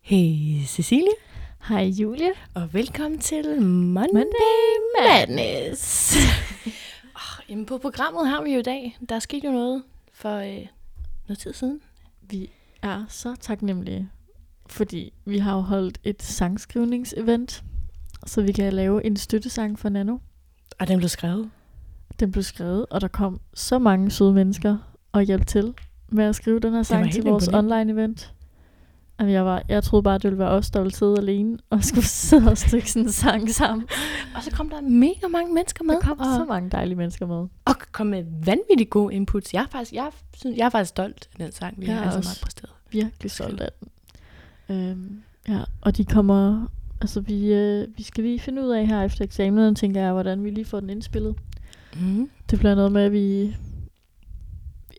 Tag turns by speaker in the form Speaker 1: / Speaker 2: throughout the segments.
Speaker 1: Hej Cecilie,
Speaker 2: Hej Julie.
Speaker 1: og velkommen til Monday Madness. oh, jamen på programmet har vi jo i dag, der skete jo noget for øh, noget tid siden.
Speaker 2: Vi er så taknemmelige, fordi vi har jo holdt et sangskrivningsevent, så vi kan lave en støttesang for Nano.
Speaker 1: Og den blev skrevet.
Speaker 2: Den blev skrevet, og der kom så mange søde mennesker og hjalp til med at skrive den her sang
Speaker 1: helt
Speaker 2: til vores
Speaker 1: imponerende.
Speaker 2: online-event. Jamen, jeg, var, jeg troede bare, det ville være os, der ville sidde alene og skulle sidde og stykke sådan en sang sammen.
Speaker 1: Og så kom der mega mange mennesker med.
Speaker 2: Der kom
Speaker 1: og,
Speaker 2: så mange dejlige mennesker med.
Speaker 1: og kom med vanvittigt gode inputs. Jeg er faktisk, jeg, synes, jeg er faktisk stolt af den sang, vi
Speaker 2: Jeg
Speaker 1: har
Speaker 2: er
Speaker 1: altså
Speaker 2: også.
Speaker 1: meget præsteret.
Speaker 2: virkelig
Speaker 1: Skønt.
Speaker 2: stolt af den. Øhm, ja, og de kommer... Altså, vi, øh, vi skal lige finde ud af her efter eksamen, tænker jeg, hvordan vi lige får den indspillet.
Speaker 1: Mm.
Speaker 2: Det bliver noget med, at vi...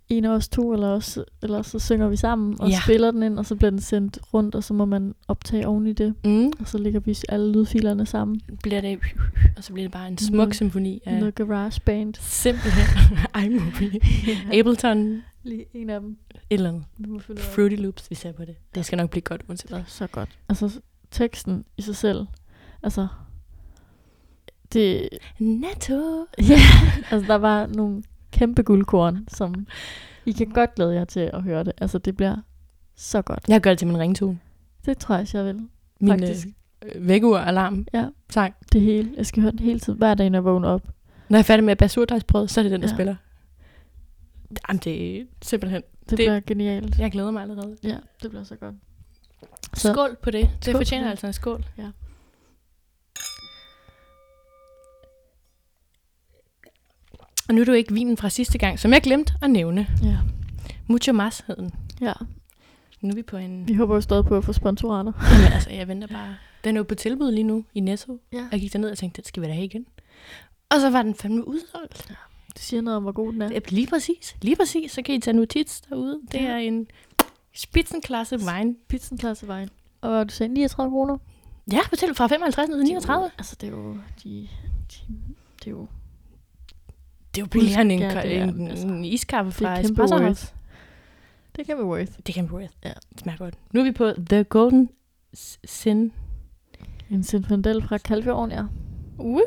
Speaker 2: En af os to, eller, os, eller så synger vi sammen og
Speaker 1: Ja.
Speaker 2: ja. spiller den ind, og så bliver den sendt rundt, og så må man optage oven i det.
Speaker 1: Mm.
Speaker 2: Og så lægger vi alle lydfilerne sammen.
Speaker 1: Bliver det, og så bliver det bare en smuk
Speaker 2: Noget-
Speaker 1: symfoni
Speaker 2: Ja.
Speaker 1: af
Speaker 2: Noget GarageBand.
Speaker 1: simpelthen iMovie, Ableton, et
Speaker 2: Lige en af dem.
Speaker 1: eller andet.
Speaker 2: Vi må finde ud af.
Speaker 1: Fruity Loops, vi ser på det. Det skal nok blive godt, uanset hvad.
Speaker 2: så godt. Altså, teksten i sig selv. Altså, det,
Speaker 1: Natto!
Speaker 2: Ja, altså der var nogle kæmpe guldkorn, som I kan godt glæde jer til at høre det. Altså det bliver så godt.
Speaker 1: Jeg gør det til min ringtone.
Speaker 2: Det tror jeg, også, jeg vil.
Speaker 1: Min
Speaker 2: Faktisk.
Speaker 1: øh, vækkeur alarm
Speaker 2: Ja,
Speaker 1: sang.
Speaker 2: det hele. Jeg skal høre den hele tiden, hver dag, når jeg vågner op.
Speaker 1: Når jeg er færdig med at bage surdejsbrød, så er det den, der ja.
Speaker 2: Ja.
Speaker 1: spiller. Jamen, det er simpelthen...
Speaker 2: Det, det bliver genialt.
Speaker 1: Jeg glæder mig allerede.
Speaker 2: Ja, det bliver så godt.
Speaker 1: Så.
Speaker 2: Så-
Speaker 1: Skål på det. Det
Speaker 2: Skål
Speaker 1: skål
Speaker 2: på
Speaker 1: fortjener
Speaker 2: det.
Speaker 1: altså en skål.
Speaker 2: Ja.
Speaker 1: Og nu er du ikke vinen fra sidste gang, som jeg glemte at nævne.
Speaker 2: Ja.
Speaker 1: Mucho mas hed den.
Speaker 2: Ja,
Speaker 1: Nu er vi på en...
Speaker 2: vi håber jo stadig på at få sponsorater.
Speaker 1: Jamen, altså, jeg venter bare. Den er jo på tilbud lige nu i Netto.
Speaker 2: Ja.
Speaker 1: Og jeg gik derned og tænkte, den skal vi da have igen. Og så var den fandme udsolgt.
Speaker 2: Det siger noget om, hvor god den er.
Speaker 1: Ja. Lige præcis, lige præcis. Så kan I tage notits derude. Det
Speaker 2: Ja.
Speaker 1: er en spitsenklasse wine.
Speaker 2: Pizzen tager til vejen. Og hvad var du sagde, 39 kroner?
Speaker 1: Ja, fortæl fra 55 ned til 39.
Speaker 2: Altså det er jo, de, de, det er jo
Speaker 1: Det er jo billigere end en,
Speaker 2: Ja, det er
Speaker 1: en,
Speaker 2: den, altså.
Speaker 1: en iskaffe
Speaker 2: det er
Speaker 1: fra
Speaker 2: kæmpe
Speaker 1: Espresso
Speaker 2: worth.
Speaker 1: House.
Speaker 2: Det kan være worth.
Speaker 1: Det kan worth.
Speaker 2: Ja.
Speaker 1: Det smager godt. Nu er vi på The Golden S- Sin.
Speaker 2: En Sinfandel fra Kalvjorden, ja.
Speaker 1: Uh,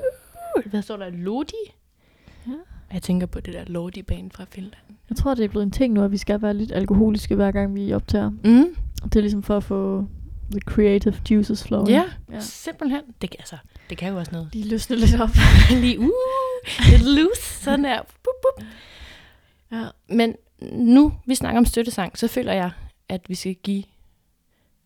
Speaker 1: hvad står der? Lodi?
Speaker 2: Ja.
Speaker 1: Jeg tænker på det der Lodi-bane fra Finland.
Speaker 2: Jeg tror, det er blevet en ting nu, at vi skal være lidt alkoholiske, hver gang vi optager.
Speaker 1: Mm.
Speaker 2: Det er ligesom for at få the creative juices flowing.
Speaker 1: Ja,
Speaker 2: Ja.
Speaker 1: simpelthen. Det, kan- altså, det kan jo også noget.
Speaker 2: De løsner lidt op.
Speaker 1: lige, uh, lidt loose, sådan der. Bup, bup.
Speaker 2: Ja.
Speaker 1: Men nu, vi snakker om støttesang, så føler jeg, at vi skal give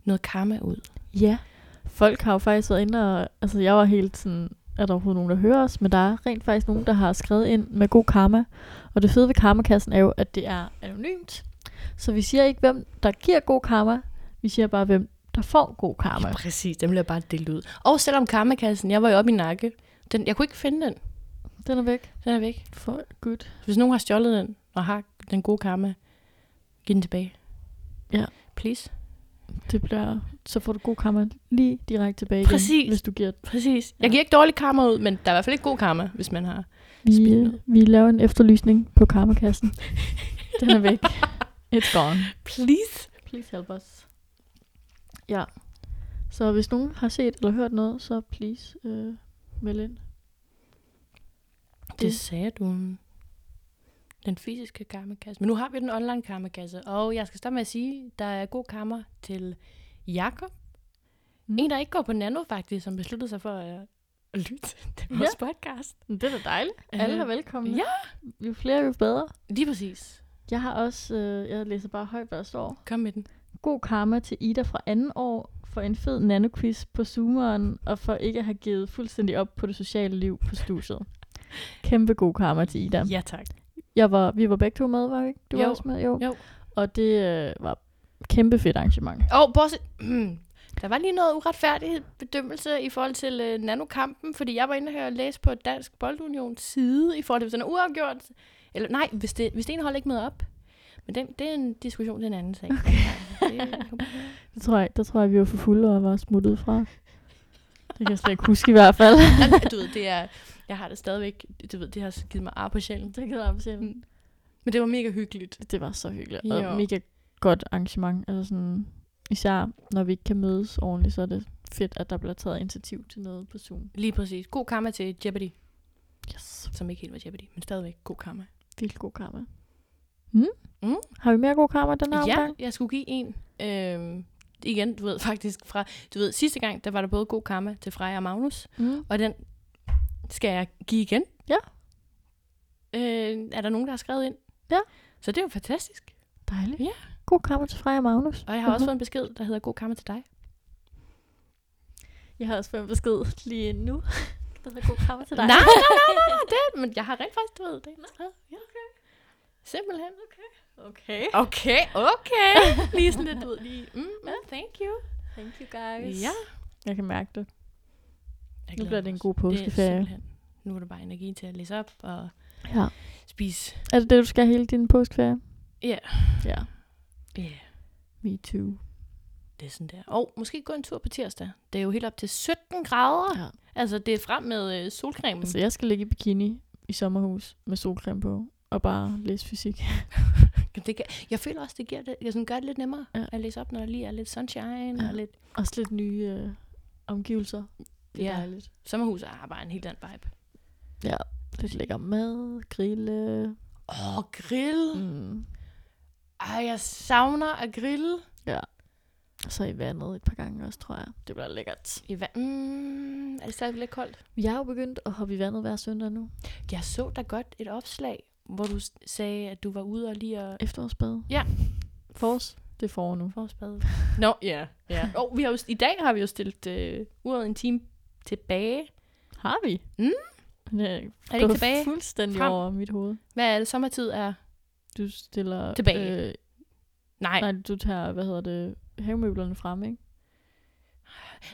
Speaker 1: noget karma ud.
Speaker 2: ja. Folk har jo faktisk været inde og... Altså, jeg var helt sådan... Er der overhovedet nogen, der hører os? Men der er rent faktisk nogen, der har skrevet ind med god karma. Og det fede ved karmakassen er jo, at det er anonymt. Så vi siger ikke, hvem der giver god karma. Vi siger bare, hvem der får god karma.
Speaker 1: præcis, den bliver bare delt ud. Og selvom karmakassen, jeg var jo oppe i nakke, den, jeg kunne ikke finde den.
Speaker 2: Den er væk.
Speaker 1: Den er væk.
Speaker 2: For good.
Speaker 1: Så Hvis nogen har stjålet den, og har den gode karma, giv den tilbage.
Speaker 2: Ja.
Speaker 1: Please.
Speaker 2: Det bliver... Så får du god karma lige direkte tilbage igen,
Speaker 1: Præcis.
Speaker 2: hvis du giver
Speaker 1: Præcis. Jeg giver ikke dårlig karma ud, men der er i hvert fald ikke god karma, hvis man har.
Speaker 2: Vi,
Speaker 1: Spil
Speaker 2: øh,
Speaker 1: noget.
Speaker 2: vi laver en efterlysning på karmakassen. Den er væk. It's gone.
Speaker 1: Please.
Speaker 2: Please help us. Ja. Så hvis nogen har set eller hørt noget, så please øh, meld ind.
Speaker 1: Det sagde du. Den fysiske karmakasse. Men nu har vi den online karmakasse. Og jeg skal starte med at sige, der er god karma til Jakob. Mm.
Speaker 2: Mm.
Speaker 1: En, der ikke går på nano faktisk, som besluttede sig for at, at lytte til
Speaker 2: Ja.
Speaker 1: vores podcast.
Speaker 2: Det er da dejligt. Øh, Alle er velkomne.
Speaker 1: Ja.
Speaker 2: Jo flere, jo bedre.
Speaker 1: Lige præcis.
Speaker 2: Jeg har også, øh, jeg læser bare højt, hvad der står.
Speaker 1: Kom med den.
Speaker 2: God karma til Ida fra anden år for en fed nanoquiz på Zoomeren og for ikke at have givet fuldstændig op på det sociale liv på studiet. Kæmpe god karma til Ida.
Speaker 1: Ja, tak.
Speaker 2: Jeg var, vi var begge to med, var vi ikke? Du
Speaker 1: Jo.
Speaker 2: var også med, jo.
Speaker 1: Jo.
Speaker 2: Og det øh, var et kæmpe fedt arrangement.
Speaker 1: Og bortset, mm, der var lige noget uretfærdig bedømmelse i forhold til øh, nanokampen, fordi jeg var inde og høre og læse på Dansk Boldunions side i forhold til, hvis den er uafgjort. Eller nej, hvis det, hvis det ene hold ikke med op. Men den, det er en diskussion til en anden sag. Okay.
Speaker 2: Det tror jeg, der tror jeg, vi var for fulde og var smuttet fra. Det kan jeg slet ikke huske i hvert fald.
Speaker 1: du ved, det er, jeg har det stadigvæk, du ved, det har givet mig ar på sjælen.
Speaker 2: det kan jeg absolut.
Speaker 1: Men det var mega hyggeligt.
Speaker 2: Det var så hyggeligt. Og
Speaker 1: Jo.
Speaker 2: mega godt arrangement. Altså sådan, Især når vi ikke kan mødes ordentligt, så er det fedt, at der bliver taget initiativ til noget på Zoom.
Speaker 1: Lige præcis. God karma til Jeopardy,
Speaker 2: Yes.
Speaker 1: som ikke helt var Jeopardy, men stadigvæk god karma.
Speaker 2: Vildt god karma. Mm.
Speaker 1: Mm.
Speaker 2: Har vi mere god karma den her
Speaker 1: Ja,
Speaker 2: omgang?
Speaker 1: jeg skulle give en. Øhm, igen, du ved faktisk fra... Du ved, sidste gang, der var der både god karma til Freja og Magnus,
Speaker 2: Mm.
Speaker 1: og den skal jeg give igen.
Speaker 2: Ja.
Speaker 1: Øh, er der nogen, der har skrevet ind?
Speaker 2: Ja.
Speaker 1: Så det er jo fantastisk.
Speaker 2: Dejligt.
Speaker 1: Ja.
Speaker 2: God karma til Freja og Magnus.
Speaker 1: Og jeg har også
Speaker 2: Mhm.
Speaker 1: fået en besked, der hedder god karma til dig.
Speaker 2: Jeg har også fået en besked lige nu. Der hedder god karma til dig.
Speaker 1: Nej, nej, nej, nej, nej, det, men jeg har rent faktisk, du ved, det er skrevet. Ja, okay. Simpelthen. Okay.
Speaker 2: Okay.
Speaker 1: Okay, okay. Lige sådan lidt, du ved, lige, mm, mm, thank you.
Speaker 2: Thank you guys.
Speaker 1: Ja.
Speaker 2: Jeg kan mærke det.
Speaker 1: Jeg
Speaker 2: Nu
Speaker 1: glæder
Speaker 2: bliver
Speaker 1: mig
Speaker 2: det en
Speaker 1: også.
Speaker 2: god påskeferie.
Speaker 1: Det er simpelthen- nu er der bare energi til at læse op og
Speaker 2: Ja.
Speaker 1: spise.
Speaker 2: Er det det, du skal hele din påskeferie?
Speaker 1: Ja.
Speaker 2: Ja.
Speaker 1: Ja, yeah,
Speaker 2: Me too.
Speaker 1: det er sådan der. Og måske gå en tur på tirsdag. Det er jo helt op til 17 grader.
Speaker 2: Ja.
Speaker 1: Altså, det er frem med øh, solcremen.
Speaker 2: Altså, jeg skal ligge i bikini i sommerhus med solcreme på og bare læse fysik.
Speaker 1: det kan, jeg føler også, det giver det, jeg sådan gør det lidt nemmere
Speaker 2: Ja.
Speaker 1: ja. at læse op, når der lige er lidt sunshine
Speaker 2: Ja.
Speaker 1: ja. og lidt
Speaker 2: Også lidt nye øh, omgivelser. Det er
Speaker 1: Ja.
Speaker 2: dejligt.
Speaker 1: sommerhus. Ah, bare en helt anden vibe.
Speaker 2: Lidt lækker mad, grille.
Speaker 1: Åh, oh, grill.
Speaker 2: Mm.
Speaker 1: Ej, jeg savner at grille.
Speaker 2: Og så i vandet et par gange også, tror jeg. Det bliver lækkert.
Speaker 1: I vand. Mm, er det stadig lidt koldt?
Speaker 2: Vi har jo begyndt at hoppe i vandet hver søndag nu.
Speaker 1: Jeg så da godt et opslag, hvor du s- sagde, at du var ude og lige at
Speaker 2: Efterårsbad.
Speaker 1: Ja.
Speaker 2: Fors. Det er forår nu.
Speaker 1: forårsbade. Nå, ja. ja. Og vi har jo, s- i dag har vi jo stillet øh, uret en time tilbage.
Speaker 2: Har vi?
Speaker 1: Mm.
Speaker 2: Det er,
Speaker 1: Er det ikke tilbage?
Speaker 2: fuldstændig
Speaker 1: Frem?
Speaker 2: over mit hoved.
Speaker 1: Hvad er det? Sommertid er...
Speaker 2: Du stiller...
Speaker 1: Tilbage.
Speaker 2: Øh,
Speaker 1: Nej,
Speaker 2: nej, du tager, hvad hedder det, havemøblerne frem, ikke?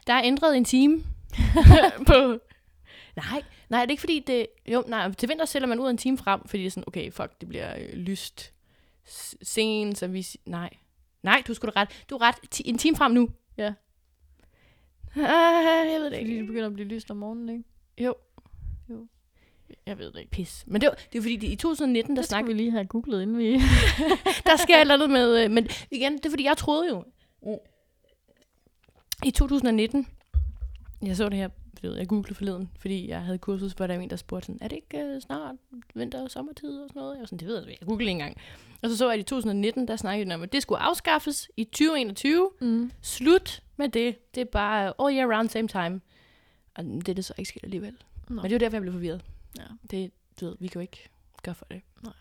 Speaker 1: der er ændret en time på... Nej, nej, er det ikke fordi det... Jo, nej, til vinter sælger man ud en time frem, fordi det er sådan, okay, fuck, det bliver øh, lyst s- sen, så vi... si- Nej, nej, du skulle ret. Du er ret. Ti- en time frem nu.
Speaker 2: Ja.
Speaker 1: Ah, jeg ved det
Speaker 2: Fordi det
Speaker 1: ikke.
Speaker 2: begynder at blive lyst om morgenen, ikke?
Speaker 1: Jo.
Speaker 2: Jo. Jeg ved det ikke.
Speaker 1: Pis. Men det var, det var fordi, de, i 2019, der
Speaker 2: Det skal
Speaker 1: snakkede
Speaker 2: vi lige have googlet, inden vi...
Speaker 1: der sker et eller andet med... Øh, men igen, det er fordi, jeg troede jo...
Speaker 2: Mm.
Speaker 1: I 2019, jeg så det her, du ved, jeg googlede forleden, fordi jeg havde kursus, hvor der var en, der spurgte sådan, er det ikke øh, snart vinter og sommertid og sådan noget? Jeg var sådan, det ved jeg ikke, jeg googlede ikke engang. Og så så jeg, at i 2019, der snakkede de om, at det skulle afskaffes i 2021.
Speaker 2: Mm.
Speaker 1: Slut med det. Det er bare øh, all year round, same time. Og det er det så ikke sket alligevel.
Speaker 2: Nå.
Speaker 1: Men det er jo derfor, jeg blev forvirret.
Speaker 2: Ja.
Speaker 1: Det, du ved, vi kan jo ikke gøre for det.
Speaker 2: Nej.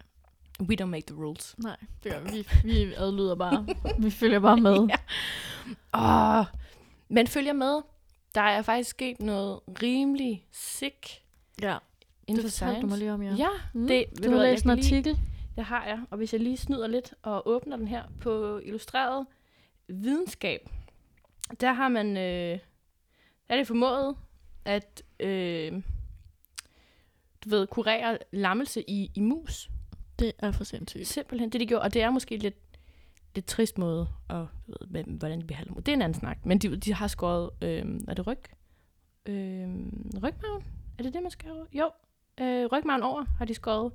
Speaker 1: We don't make the rules.
Speaker 2: Nej, det gør vi. Vi- Vi adlyder bare. Vi følger bare med.
Speaker 1: Ja. Åh, men følger med. Der er faktisk sket noget rimelig sick
Speaker 2: ja.
Speaker 1: inden for
Speaker 2: det fortalte
Speaker 1: science.
Speaker 2: du mig lige om, ja.
Speaker 1: ja. ja,
Speaker 2: Mm.
Speaker 1: det ved
Speaker 2: du
Speaker 1: hvad,
Speaker 2: har
Speaker 1: jeg
Speaker 2: læst en
Speaker 1: kan lige-
Speaker 2: artikel.
Speaker 1: det har jeg. Og hvis jeg lige snyder lidt og åbner den her på illustreret videnskab, der har man, øh, er det formået at øh, du ved, kurere lammelse i, i mus.
Speaker 2: Det er for sindssygt.
Speaker 1: Simpelthen, det de gjorde. Og det er måske lidt, lidt trist måde, at, du ved, hvem- hvordan de behandler mod. Det er en anden snak. Men de, de har skåret, øh, er det ryg? Øh, rygmagen? Er det det, man skal Jo, øh, rygmagen over har de skåret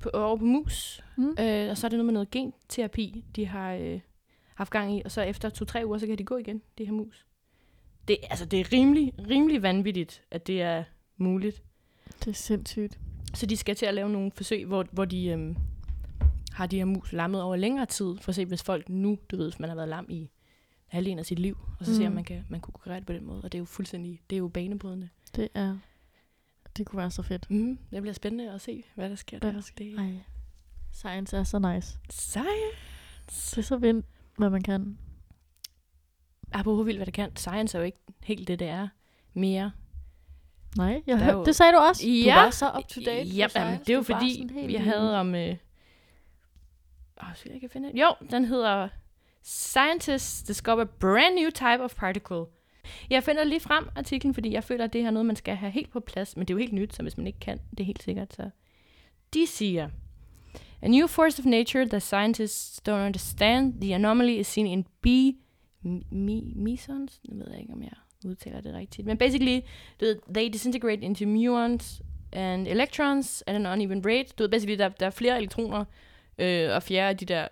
Speaker 1: på, over på mus.
Speaker 2: Mm.
Speaker 1: Øh, og så er det noget med noget genterapi, de har øh, haft gang i. Og så efter to-tre uger, så kan de gå igen, de her mus. Det, altså, det er rimelig, rimelig vanvittigt, at det er muligt.
Speaker 2: Det er sindssygt.
Speaker 1: Så de skal til at lave nogle forsøg, hvor, hvor de øhm, har de her mus lammet over længere tid, for at se, hvis folk nu, du ved, hvis man har været lam i halvdelen af sit liv, og så mm. ser,
Speaker 2: Mm.
Speaker 1: om man, kan, man kunne kurere det på den måde. Og det er jo fuldstændig, det er jo banebrydende.
Speaker 2: Det er... Det kunne være så fedt.
Speaker 1: Mm, det bliver spændende at se, hvad der sker
Speaker 2: Hvad
Speaker 1: der.
Speaker 2: der
Speaker 1: Det er
Speaker 2: Ej. Science er så nice.
Speaker 1: science.
Speaker 2: Det er så vildt, hvad man kan.
Speaker 1: Apropos vildt, hvad det kan. Science er jo ikke helt det, det er mere.
Speaker 2: Nej, jeg
Speaker 1: Der er
Speaker 2: hørte,
Speaker 1: jo-
Speaker 2: det sagde du også.
Speaker 1: Ja.
Speaker 2: Du var så up to date. på
Speaker 1: Ja, jamen,
Speaker 2: science.
Speaker 1: det er jo
Speaker 2: Du var
Speaker 1: fordi,
Speaker 2: sådan helt
Speaker 1: vi
Speaker 2: i-
Speaker 1: havde om... Øh... Oh, så jeg kan finde den. Jo, den hedder Scientists discover brand new type of particle. Jeg finder lige frem artiklen, fordi jeg føler, at det her er noget, man skal have helt på plads. Men det er jo helt nyt, så hvis man ikke kan, det er helt sikkert. Så. De siger, A new force of nature that scientists don't understand. The anomaly is seen in bee m- mi- mesons. Nu ved jeg ikke, om jeg udtaler det rigtigt. Men basically, du ved, they disintegrate into muons and electrons at an uneven rate. Du ved, basically, der, der er flere elektroner øh, og fjerde af de der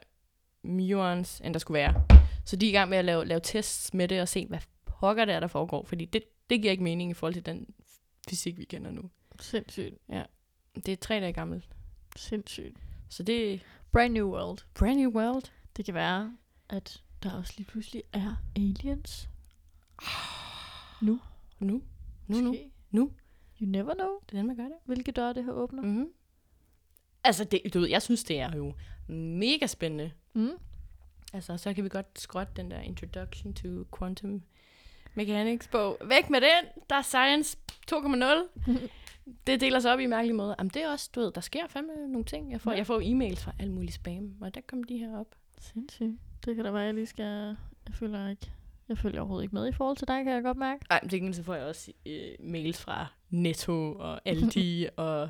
Speaker 1: muons, end der skulle være. Så de er i gang med at lave, lave tests med det og se, hvad pokker det er, der foregår. Fordi det, det giver ikke mening i forhold til den fysik, vi kender nu.
Speaker 2: Sindssygt.
Speaker 1: Det er tre dage gammelt.
Speaker 2: Sindssygt.
Speaker 1: Så det er
Speaker 2: Brand New World.
Speaker 1: brand new world.
Speaker 2: Det kan være, at der også lige pludselig er aliens.
Speaker 1: Nu. Nu, nu.
Speaker 2: Måske.
Speaker 1: Nu.
Speaker 2: You never know,
Speaker 1: Det er den, man gør det.
Speaker 2: hvilke døre det her åbner.
Speaker 1: Mm-hmm. Altså, det, du ved, jeg synes, det er jo mega spændende.
Speaker 2: Mm.
Speaker 1: Altså, så kan vi godt skrotte den der Introduction to Quantum Mechanics bog. Væk med den! Der er science 2.0. det deler sig op i mærkelige måder. Jamen, det er også, du ved, der sker fandme nogle ting. Jeg får,
Speaker 2: Ja.
Speaker 1: jeg får e-mails fra alle mulige spam, og der kom de her op.
Speaker 2: Sindssygt. Det kan da være, jeg lige skal... Jeg føler ikke... Jeg følger overhovedet ikke med i forhold til dig, kan jeg godt mærke.
Speaker 1: Ej, men til gengæld så får jeg også øh, mails fra Netto og Aldi og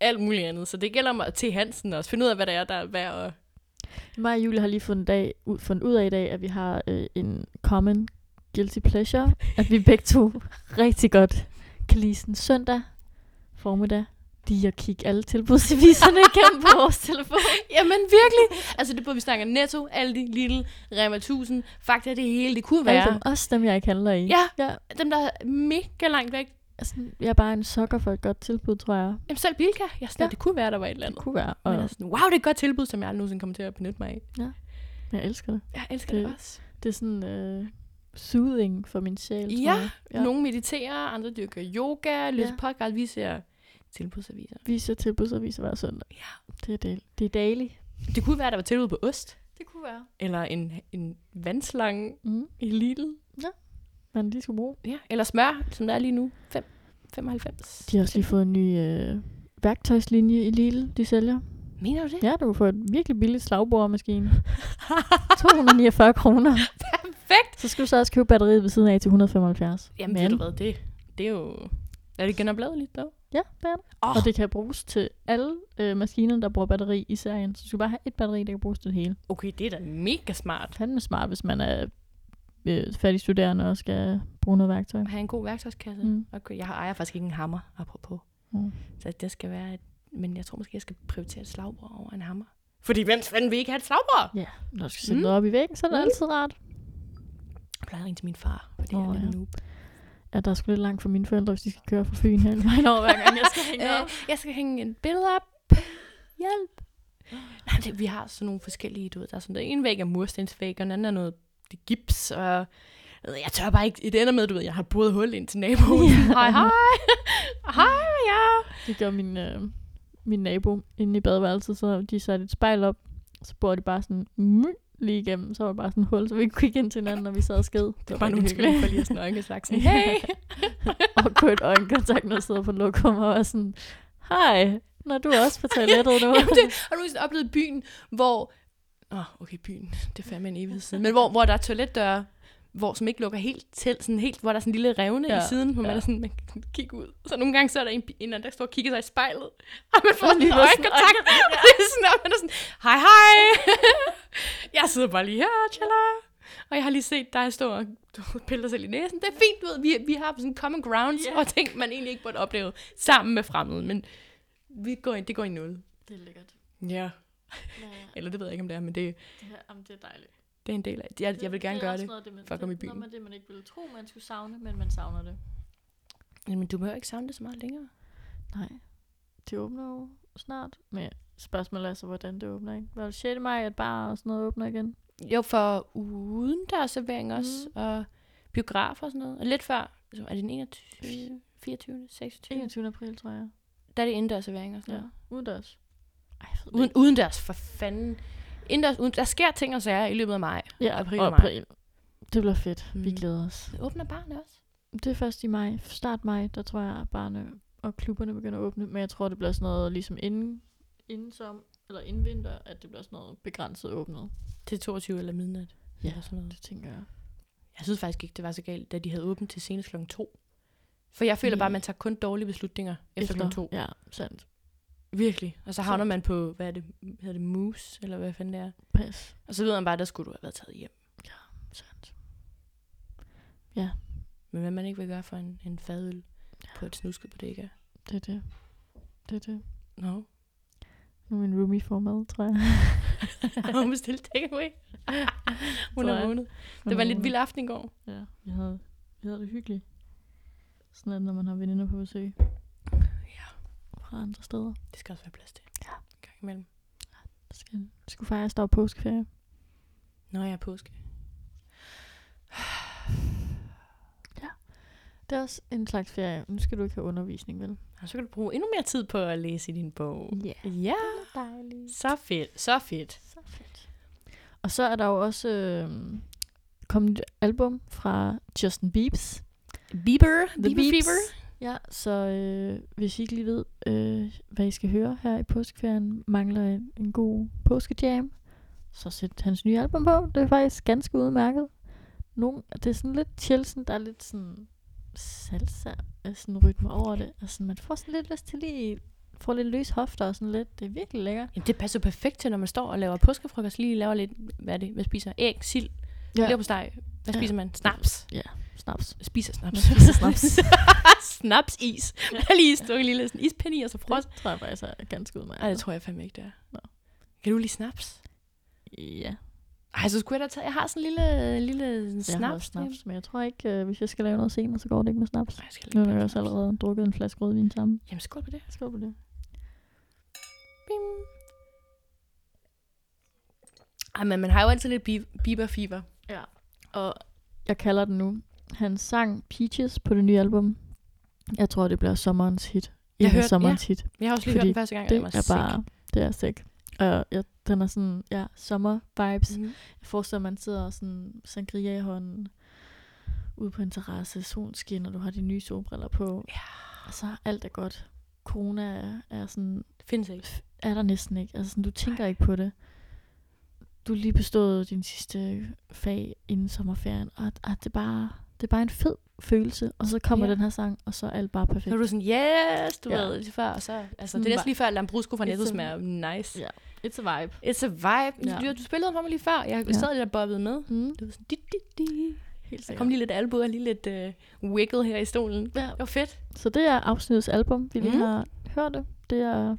Speaker 1: alt muligt andet. Så det gælder om at til Hansen også. Finde ud af, hvad der er, der er værd at
Speaker 2: Mig og Julie har lige fundet, dag, ud, fundet ud af i dag, at vi har øh, en common guilty pleasure. At vi begge to rigtig godt kan lide sådan søndag formiddag. Lige at kigge alle tilbudsaviserne igennem på vores telefon.
Speaker 1: Jamen virkelig. Altså det er både, vi snakker Netto, Aldi, Lidl, Rema 1000. Faktisk det hele, det kunne
Speaker 2: Alle
Speaker 1: være.
Speaker 2: dem, også dem, jeg ikke handler i.
Speaker 1: Ja,
Speaker 2: ja
Speaker 1: dem der er mega langt væk.
Speaker 2: altså, jeg er bare en sokker for et godt tilbud, tror jeg.
Speaker 1: Jamen selv Bilka. Jeg sådan,
Speaker 2: Ja.
Speaker 1: ja. det kunne være, der var et eller
Speaker 2: Det
Speaker 1: andet.
Speaker 2: kunne være. Og
Speaker 1: Men altså, wow, det er et godt tilbud, som jeg aldrig nogensinde kommer til at benytte mig af.
Speaker 2: jeg elsker det.
Speaker 1: Jeg elsker
Speaker 2: Det-
Speaker 1: det, det også.
Speaker 2: Det er sådan øh, soothing for min sjæl, tror
Speaker 1: Ja,
Speaker 2: jeg.
Speaker 1: Ja. Nogle mediterer, andre dyrker yoga, lytter
Speaker 2: Ja.
Speaker 1: ja. podcast, vi ser tilbudsaviser.
Speaker 2: Vi ser tilbudsaviser hver søndag. Ja. Det er, del. det er daily.
Speaker 1: Det kunne være, der var tilbud på ost.
Speaker 2: Det kunne være.
Speaker 1: Eller en, en vandslange
Speaker 2: Mm.
Speaker 1: i Lidl.
Speaker 2: Man lige skulle bruge.
Speaker 1: Ja. Eller smør, som der er lige nu. 5, 95.
Speaker 2: De har også lige fået en ny øh, værktøjslinje i Lille, de sælger.
Speaker 1: Mener du det?
Speaker 2: Ja, du kan få et virkelig billigt slagbordmaskine. 249 kroner.
Speaker 1: Perfekt!
Speaker 2: Så skal du så også købe batteriet ved siden af til 175.
Speaker 1: Jamen, Men. ved du hvad, det, det er jo... Er det genopladeligt, dog?
Speaker 2: Ja, det er det.
Speaker 1: Åh.
Speaker 2: Og det kan bruges til alle øh, maskiner, der bruger batteri i serien. Så du skal bare have et batteri, der kan bruges til det hele.
Speaker 1: Okay, det er da mega smart.
Speaker 2: Fandme smart, hvis man er øh, fattig studerende og skal bruge noget værktøj.
Speaker 1: At have en god værktøjskasse.
Speaker 2: Mm.
Speaker 1: Mm. Okay, jeg har- ejer faktisk ikke en hammer, apropos.
Speaker 2: Mm.
Speaker 1: Mm. Så det skal være et, Men jeg tror måske, jeg skal prioritere et slagbord over en hammer. Fordi hvem fanden vil ikke have et slagbord?
Speaker 2: Ja, når du skal sætte mm.
Speaker 1: Mm.
Speaker 2: noget op i væggen, så er det mm.
Speaker 1: Mm.
Speaker 2: altid rart.
Speaker 1: Jeg plejer at ringe til min far, fordi
Speaker 2: Åh,
Speaker 1: oh, jeg er lidt
Speaker 2: ja.
Speaker 1: ja. noob.
Speaker 2: Ja, der er sgu lidt langt for mine forældre, hvis de skal køre fra Fyn hele vejen over, hver gang jeg skal hænge
Speaker 1: Øh,
Speaker 2: op.
Speaker 1: jeg skal hænge en billede op. Hjælp. Nej, det, vi har sådan nogle forskellige, du ved, der er sådan der en væg er murstensvæg, og den anden er noget det er gips, og jeg ved, jeg tør bare ikke, det ender med, du ved, jeg har boet hul ind til naboen.
Speaker 2: Ja.
Speaker 1: Ja. Hej, hej. hej, ja.
Speaker 2: Det gør min, øh, min nabo inde i badeværelset, så de satte et spejl op, så bor de bare sådan mm, lige igennem, så var det bare sådan et hul, så vi ikke kunne kigge ind til hinanden, når vi sad og sked. Det var
Speaker 1: Bare
Speaker 2: rigtig
Speaker 1: nogle
Speaker 2: hyggeligt.
Speaker 1: skønne for lige at snakke og sagt sådan, hey.
Speaker 2: og på et øjenkontakt, når jeg sidder på lokum og er sådan, hej, når du er også på toilettet nu.
Speaker 1: Jamen, det, har du nogensinde oplevet byen, hvor... Åh, oh, okay, byen. Det er fandme en evighed siden. Men hvor, hvor der er toiletdøre, hvor, som ikke lukker helt til, sådan helt, hvor der er sådan en lille revne
Speaker 2: Ja,
Speaker 1: ja, i siden, hvor man
Speaker 2: ja.
Speaker 1: ja. er sådan, man kan kigge ud. Så nogle gange så er der en, en eller anden, der står og kigger sig i spejlet, og man får sådan en
Speaker 2: lige bare sådan,
Speaker 1: øjenkontakt, og det er sådan, og man er sådan, hej hej, jeg sidder bare lige her, tjala. Og jeg har lige set dig stå og du ved, pille dig selv i næsen. Det er fint, du ved, vi, vi har sådan common grounds
Speaker 2: Ja.
Speaker 1: yeah. og ting, man egentlig ikke burde opleve sammen med fremmede, men vi går, i- det går i nul.
Speaker 2: det er lækkert.
Speaker 1: Ja, eller det ved jeg ikke, om det er, men det,
Speaker 2: Ja, jamen, det er dejligt.
Speaker 1: det er en del af det. Jeg, jeg vil gerne gøre det.
Speaker 2: Noget, det man,
Speaker 1: for at komme i byen.
Speaker 2: man, det, man ikke ville tro, man skulle savne, men man savner det.
Speaker 1: Men du behøver ikke savne det så meget længere.
Speaker 2: Nej. Det åbner jo snart. Men spørgsmålet er så, hvordan det åbner, ikke? Var det 6. maj, at bar og sådan noget åbner igen?
Speaker 1: Jo, for udendørsservering også, mm. og biografer og sådan noget. Og lidt før, så er det den 21, 24, 26?
Speaker 2: 21. april, tror jeg.
Speaker 1: Der er det indendørsservering og sådan
Speaker 2: Ja.
Speaker 1: noget.
Speaker 2: Udendørs. Ej, jeg ved det
Speaker 1: Uden,
Speaker 2: ikke.
Speaker 1: udendørs, for fanden. Indendørs, uden, der sker ting og sager i løbet af maj.
Speaker 2: Ja,
Speaker 1: april
Speaker 2: og
Speaker 1: og maj.
Speaker 2: april. Det bliver fedt. Mm. Vi
Speaker 1: Mm.
Speaker 2: glæder os.
Speaker 1: Så åbner barnet også.
Speaker 2: Det er først i maj. Start maj, der tror jeg, at barne og klubberne begynder at åbne. Men jeg tror, det bliver sådan noget ligesom inden, inden som, eller inden vinter, at det bliver sådan noget begrænset åbnet.
Speaker 1: Til 22 eller midnat.
Speaker 2: Ja.
Speaker 1: Eller sådan noget.
Speaker 2: Det tænker jeg.
Speaker 1: Jeg synes faktisk ikke, det var så galt, da de havde åbent til senest klokken 2. For jeg føler
Speaker 2: Nej.
Speaker 1: bare, at man tager kun dårlige beslutninger Mm. efter, efter. klokken 2.
Speaker 2: Ja, sandt.
Speaker 1: Virkelig. Og så havner
Speaker 2: Sandt.
Speaker 1: man på, hvad er det, hedder det moose, eller hvad fanden det er.
Speaker 2: Pas.
Speaker 1: Og så ved man bare, der skulle du have været taget hjem.
Speaker 2: Sandt.
Speaker 1: Men hvad man ikke vil gøre for en, en fadøl på et snusket bodega.
Speaker 2: Det er det. Det er det.
Speaker 1: Nå,
Speaker 2: Nu er min roomie får mad, tror jeg.
Speaker 1: no. hun bestilte takeaway. Hun
Speaker 2: Sådan.
Speaker 1: er vågnet. Det var en lidt vild aften i går.
Speaker 2: Ja, vi havde, vi havde det hyggeligt. Sådan er det, når man har veninder på besøg.
Speaker 1: Ja.
Speaker 2: Fra andre steder.
Speaker 1: Det skal også være plads til.
Speaker 2: Ja.
Speaker 1: En Gang imellem.
Speaker 2: Det skal, det skulle faktisk der var påskeferie.
Speaker 1: Nå, jeg er påske.
Speaker 2: Det er også en slags ferie. Nu skal du ikke have undervisning, vel?
Speaker 1: Og så kan du bruge endnu mere tid på at læse i din bog.
Speaker 2: Ja.
Speaker 1: Ja,
Speaker 2: Det er dejligt.
Speaker 1: Ah, så fedt, så fedt.
Speaker 2: Så fedt. Og så er der jo også øh, kommet et nyt album fra Justin Biebs.
Speaker 1: Bieber,
Speaker 2: The
Speaker 1: Bieber,
Speaker 2: Beeps.
Speaker 1: Bieber.
Speaker 2: Ja, så øh, hvis I ikke lige ved, øh, hvad I skal høre her i påskeferien, mangler en, en god påskejam, så sæt hans nye album på. Det er faktisk ganske udmærket. Nogle, det er sådan lidt chill, sådan, der er lidt sådan salsa, øh, sådan rytme over det. Og sådan, man får sådan lidt lyst til lige får lidt løs hofter og sådan lidt. Det er virkelig lækkert.
Speaker 1: Jamen, det passer perfekt til, når man står og laver påskefrokost, lige laver lidt, hvad er det, man spiser? Æg, sild, ja. leverpostej. Hvad
Speaker 2: Ja.
Speaker 1: spiser man? Snaps.
Speaker 2: Snaps.
Speaker 1: Spiser snaps.
Speaker 2: Man spiser snaps.
Speaker 1: Snapsis. Ja. Jeg har lige stukket en lille sådan ispind i, og så
Speaker 2: Det
Speaker 1: frost.
Speaker 2: tror jeg faktisk er ganske udmærket.
Speaker 1: Nej, det tror jeg fandme ikke, det er.
Speaker 2: Nå.
Speaker 1: Kan du lige snaps?
Speaker 2: Ja,
Speaker 1: Ej, så skulle jeg da tage... Jeg har sådan en lille, lille
Speaker 2: jeg har
Speaker 1: snaps.
Speaker 2: også snaps, men jeg tror ikke, øh, hvis jeg skal lave noget senere, så går det ikke med snaps.
Speaker 1: Nej, jeg skal
Speaker 2: Nu
Speaker 1: lige
Speaker 2: har jeg
Speaker 1: bage
Speaker 2: også
Speaker 1: snaps.
Speaker 2: allerede drukket en flaske rødvin sammen.
Speaker 1: Jamen, skål på det.
Speaker 2: Skål på det.
Speaker 1: Bim. Ej, men man har jo altid lidt bi- Bieber-fever.
Speaker 2: Ja. Og jeg kalder den nu. Han sang Peaches på det nye album. Jeg tror, det bliver sommerens hit.
Speaker 1: Jeg
Speaker 2: En af
Speaker 1: hørte-
Speaker 2: sommerens hit.
Speaker 1: Jeg har også lige
Speaker 2: Fordi
Speaker 1: hørt den første gang,
Speaker 2: Det
Speaker 1: og den var Mhm.
Speaker 2: er bare... Det er sick. Og jeg, den er sådan, ja, sommer-vibes.
Speaker 1: sick. Mhm.
Speaker 2: Jeg forestiller mig, man sidder og sådan sangria i hånden ude på en terrasse, solen skinner, du har de nye solbriller på. Ja. Og så er alt er godt. Corona er, er sådan
Speaker 1: Det findes ikke.
Speaker 2: er der næsten ikke. Altså, sådan, du tænker ikke på det. Du har lige bestået din sidste fag inden sommerferien, og, og det, er bare, det er bare en fed følelse. Og så kommer
Speaker 1: Ja.
Speaker 2: ja. den her sang, og så er alt bare
Speaker 1: Så er
Speaker 2: perfekt.
Speaker 1: du sådan, yes, du
Speaker 2: Ja.
Speaker 1: ja. ved lige før. Og så, altså,
Speaker 2: Sådan
Speaker 1: det er
Speaker 2: var-
Speaker 1: næsten lige før, at Lambrusco fra
Speaker 2: It's
Speaker 1: Netto
Speaker 2: a-
Speaker 1: smager nice.
Speaker 2: Ja. It's a vibe.
Speaker 1: It's a vibe.
Speaker 2: Ja.
Speaker 1: Ja. Du, du spillede den for mig lige før. Jeg
Speaker 2: Ja.
Speaker 1: ja. sad lidt og bobbede med.
Speaker 2: Mm.
Speaker 1: Du var sådan, di, di, di.
Speaker 2: Helt
Speaker 1: Der
Speaker 2: sikkert.
Speaker 1: kom lige lidt albu og lige lidt øh, wiggle her i stolen.
Speaker 2: Ja.
Speaker 1: Det var fedt.
Speaker 2: Så det er afsnittets album, vi lige
Speaker 1: Mm.
Speaker 2: har hørt det. Det er,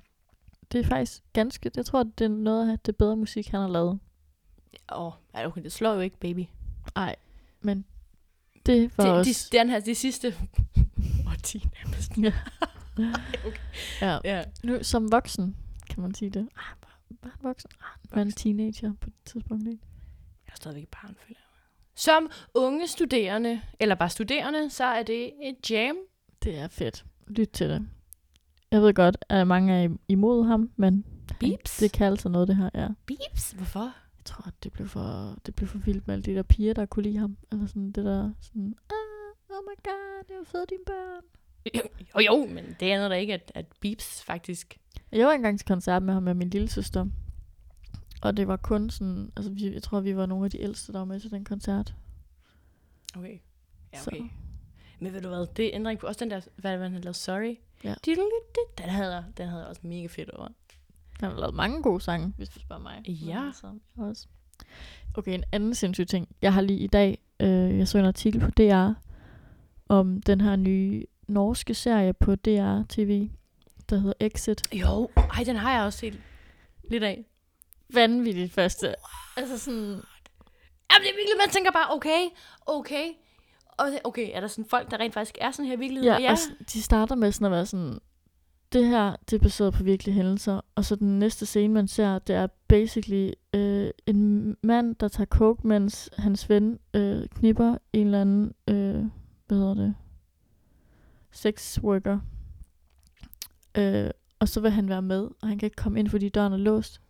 Speaker 2: det er faktisk ganske, jeg tror, det er noget af det bedre musik, han har lavet.
Speaker 1: Åh, oh, okay, det slår jo ikke, baby.
Speaker 2: Nej, men det var
Speaker 1: Det, de,
Speaker 2: også...
Speaker 1: den her, de sidste årti nærmest.
Speaker 2: Ja.
Speaker 1: Ej, okay.
Speaker 2: ja.
Speaker 1: Ja.
Speaker 2: Nu som voksen, kan man sige det. Ah, var, var han voksen? Ah, var en teenager på det tidspunkt, ikke?
Speaker 1: Jeg er stadigvæk et barn, føler jeg. Som unge studerende, eller bare studerende, så er det et jam.
Speaker 2: Det er fedt. Lyt til det. Jeg ved godt, at mange er im- imod ham, men
Speaker 1: Beeps.
Speaker 2: det kan altså noget, det her er.
Speaker 1: Beeps. Hvorfor?
Speaker 2: Jeg tror, at det blev for, det blev for vildt med alle de der piger, der kunne lide ham. Eller sådan det der, sådan, ah, oh my god, det er jo fedt, dine børn.
Speaker 1: Jo, jo, men det er der ikke, at, at beeps faktisk...
Speaker 2: Jeg var engang til koncert med ham med min lille søster. Og det var kun sådan, altså vi, jeg tror, vi var nogle af de ældste, der var med til den koncert.
Speaker 1: Okay. Ja,
Speaker 2: Så-
Speaker 1: okay. Men ved du hvad, det ændrer ikke på. Også den der, hvad man har lavet, sorry.
Speaker 2: Ja.
Speaker 1: Diddle-diddle, Den havde, den havde jeg også mega fedt over.
Speaker 2: Han har lavet mange gode sange, hvis du spørger mig.
Speaker 1: Ja.
Speaker 2: Men altså, jeg Også. Okay, en anden sindssyg ting. Jeg har lige i dag, øh, jeg så en artikel på DR, om den her nye norske serie på DR TV, der hedder Exit.
Speaker 1: Jo, ej, den har jeg også set lidt af.
Speaker 2: Vanvittigt første. Altså sådan,
Speaker 1: Jamen, det er virkelig, man tænker bare, okay, okay. Og det- okay, er der sådan folk, der rent faktisk er sådan her i virkeligheden?
Speaker 2: ja,
Speaker 1: Og
Speaker 2: ja. Altså, de starter med sådan at være sådan, det her, det er baseret på virkelige hændelser, og så den næste scene, man ser, det er basically øh, en mand, der tager coke, mens hans ven øh, knipper en eller anden, øh, hvad hedder det, sex worker. Øh, og så vil han være med, og han kan ikke komme ind, fordi døren er låst.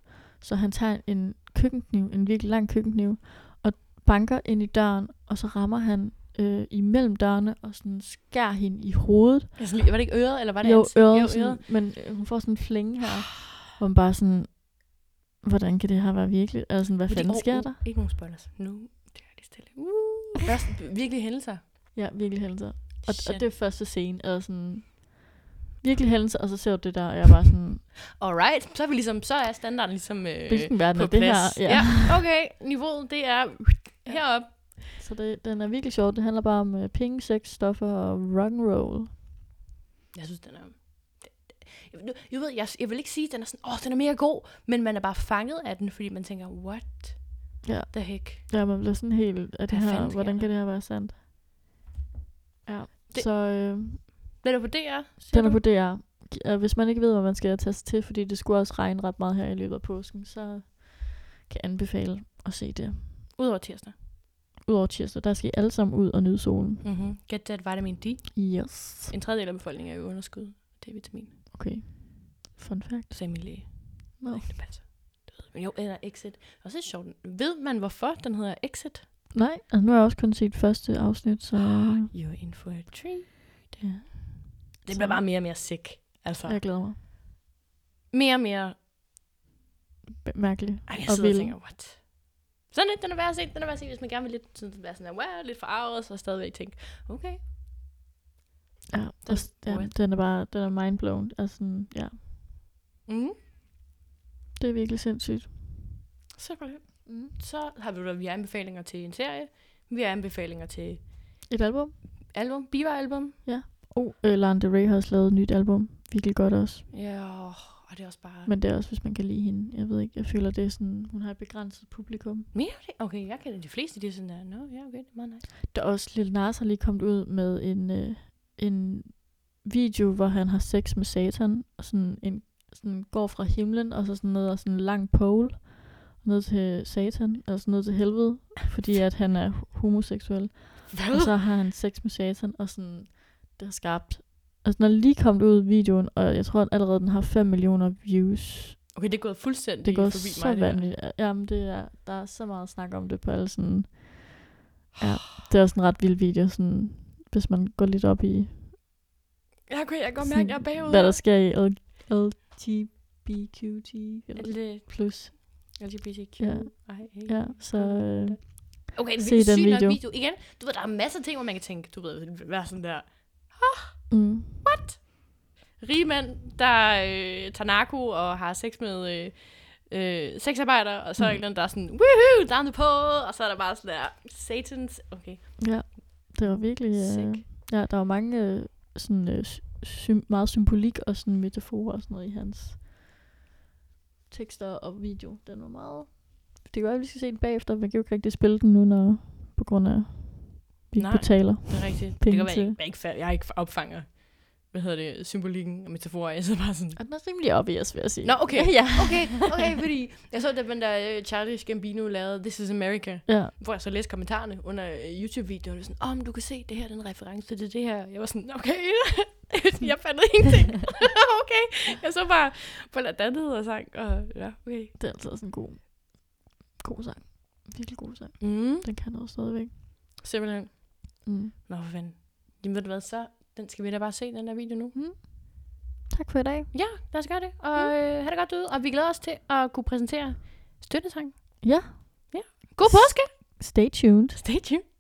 Speaker 2: Så han tager en køkkenkniv, en virkelig lang køkkenkniv, og banker ind i døren, og så rammer han øh, imellem dørene og sådan skærer hende i hovedet.
Speaker 1: Altså, lige- var det ikke øret, eller var det
Speaker 2: jo,
Speaker 1: ansigt?
Speaker 2: øret,
Speaker 1: Jo,
Speaker 2: sådan, men øh, hun får sådan en flænge her,
Speaker 1: Ah.
Speaker 2: hvor man bare sådan, hvordan kan det her være virkeligt? Altså sådan, hvad
Speaker 1: Fordi-
Speaker 2: fanden
Speaker 1: oh,
Speaker 2: sker
Speaker 1: oh,
Speaker 2: der?
Speaker 1: Ikke nogen spoilers. Nu det er det stille. Uh. Først virkelig hændelser.
Speaker 2: Ja, virkelig hændelser. Og, og
Speaker 1: Shit.
Speaker 2: det er første scene, eller sådan, virkelig hændelser, og så ser du det der, og jeg er bare sådan,
Speaker 1: Alright, så er, vi ligesom, så er standarden ligesom øh,
Speaker 2: hvilken verden
Speaker 1: på
Speaker 2: er det
Speaker 1: plads.
Speaker 2: her?
Speaker 1: ja. okay, niveauet det er heroppe.
Speaker 2: Så det, den er virkelig sjov. Det handler bare om øh, penge, sex, stoffer og rock'n'roll.
Speaker 1: Jeg synes, den er... Jeg, jeg ved, jeg, jeg vil ikke sige, at den er sådan, åh, oh, den er mega god, men man er bare fanget af den, fordi man tænker, what
Speaker 2: Ja.
Speaker 1: The heck.
Speaker 2: Ja, man bliver sådan helt, at det
Speaker 1: Hvad
Speaker 2: her,
Speaker 1: fanden sker
Speaker 2: hvordan
Speaker 1: der?
Speaker 2: kan det her være sandt? Ja,
Speaker 1: Det-
Speaker 2: det... så øh,
Speaker 1: Den er på DR, siger
Speaker 2: den er
Speaker 1: du?
Speaker 2: på DR. Ja, Hvis man ikke ved, hvad man skal taste til, fordi det skulle også regne ret meget her i løbet af påsken, så kan jeg anbefale at se det.
Speaker 1: Udover tirsdag.
Speaker 2: Udover tirsdag, der skal I alle sammen ud og nyde solen.
Speaker 1: Mm-hmm. Get that vitamin D.
Speaker 2: Yes.
Speaker 1: En tredjedel af befolkningen er jo underskud. Det er vitamin,
Speaker 2: Okay. Fun fact.
Speaker 1: sagde min læge.
Speaker 2: Nå.
Speaker 1: No. Det passer. Det ved jeg. Men jo, eller Exit. Og så er det sjovt. Ved man, hvorfor den hedder Exit?
Speaker 2: Nej, altså nu har jeg også kun set første afsnit, så
Speaker 1: You're in for a treat.
Speaker 2: ja,
Speaker 1: Det bliver bare mere og mere sick. Altså,
Speaker 2: jeg glæder mig.
Speaker 1: mere og mere...
Speaker 2: B- mærkeligt.
Speaker 1: Ej, jeg
Speaker 2: Og
Speaker 1: sidder og
Speaker 2: vild.
Speaker 1: tænker, what? Sådan lidt, den er værd at se, den er værd at se, hvis man gerne vil lidt, sådan, være sådan, wow, lidt forarvet, så stadigvæk tænke, okay,
Speaker 2: Ja, og, s- ja,
Speaker 1: weird.
Speaker 2: den er bare den er mindblown. Altså, sådan, ja,
Speaker 1: mm,
Speaker 2: det er virkelig sindssygt.
Speaker 1: simpelthen.
Speaker 2: Mm.
Speaker 1: Så har vi, vi har anbefalinger til en serie, vi har anbefalinger til
Speaker 2: Et album.
Speaker 1: album, Bieber-album.
Speaker 2: Oh, øh, Lana Del Rey har også lavet et nyt album. Virkelig godt også.
Speaker 1: Ja, åh, og det er også bare...
Speaker 2: Men det er også, hvis man kan lide hende. Jeg ved ikke, jeg føler, det er sådan, hun har et begrænset publikum.
Speaker 1: Okay, jeg kender de fleste, de er sådan der, no, ja, okay, det er meget nice.
Speaker 2: Der er også Lil Nas har lige kommet ud med en, øh, en video, hvor han har sex med Satan, og sådan, en, sådan går fra himlen, og så sådan ned og sådan en lang pole, ned til Satan, eller sådan ned til helvede, fordi at han er ho- homoseksuel. Og så har han sex med Satan, og sådan, det har skabt. Altså, den er lige kommet ud i videoen, og jeg tror at allerede, den har 5 millioner views.
Speaker 1: Okay, det er gået fuldstændig
Speaker 2: Det er gået
Speaker 1: forbi
Speaker 2: så
Speaker 1: mig. det der.
Speaker 2: vanvittigt. Jamen, det er, der er så meget snak om det på alle sådan...
Speaker 1: Ah.
Speaker 2: Ja, det er også en ret vild video, sådan, hvis man går lidt op i,
Speaker 1: Ja, okay, jeg kan godt mærke,
Speaker 2: sådan,
Speaker 1: jeg er bagud.
Speaker 2: hvad der sker i L- LGBTQT eller
Speaker 1: Lidt øh,
Speaker 2: plus.
Speaker 1: LGBTQ.
Speaker 2: Ja. Ja, så øh,
Speaker 1: Okay, det er
Speaker 2: Se
Speaker 1: virkelig
Speaker 2: den
Speaker 1: sygt video.
Speaker 2: video.
Speaker 1: video. Igen, du ved, der er masser af ting, hvor man kan tænke, du ved, være sådan der.
Speaker 2: mm,
Speaker 1: Rige mænd, der øh, tager narko og har sex med øh, øh, sexarbejdere, og så er der
Speaker 2: Mm.
Speaker 1: mm. en eller anden, der er sådan, woohoo, down the pole, og så er der bare sådan der, satans, okay,
Speaker 2: ja, det var virkelig... Øh,
Speaker 1: sick.
Speaker 2: ja, der var mange øh, sådan, øh, sy- meget symbolik og sådan metaforer og sådan noget i hans tekster og video. Den var meget... Det kan være, at vi skal se den bagefter. Man kan jo ikke rigtig spille den nu, når, på grund af, vi ikke
Speaker 1: Nej.
Speaker 2: betaler.
Speaker 1: Det er rigtigt. Det
Speaker 2: Penge
Speaker 1: kan være, jeg, ikke-
Speaker 2: til.
Speaker 1: jeg, ikke, fa- jeg ikke opfanger, hvad hedder det, symbolikken og metaforer, jeg sidder bare sådan,
Speaker 2: Og den er rimelig obvious, vil jeg sige.
Speaker 1: Nå, okay.
Speaker 2: Altså, ja.
Speaker 1: okay, okay, fordi jeg så, at den der øh, Charlie Gambino lavede This is America,
Speaker 2: Ja,
Speaker 1: hvor jeg så læste kommentarerne under øh, YouTube-videoen, og sådan, åh, oh, men du kan se, det her det er en reference til det her. Jeg var sådan, okay, jeg fandt ingenting. okay, jeg så bare på den andet og sang, og ja, okay.
Speaker 2: det er altså også en god, god sang. Virkelig god sang.
Speaker 1: Mm.
Speaker 2: Den kan noget stadigvæk.
Speaker 1: Simpelthen.
Speaker 2: Mm.
Speaker 1: Nå, for fanden. Jamen ved du hvad, så den skal vi da bare se, den der video nu.
Speaker 2: Tak for i dag.
Speaker 1: Ja, lad os gøre det, og øh, have det godt derude, og vi glæder os til at kunne præsentere støttesang.
Speaker 2: Ja.
Speaker 1: God påske!
Speaker 2: Stay tuned.
Speaker 1: Stay tuned.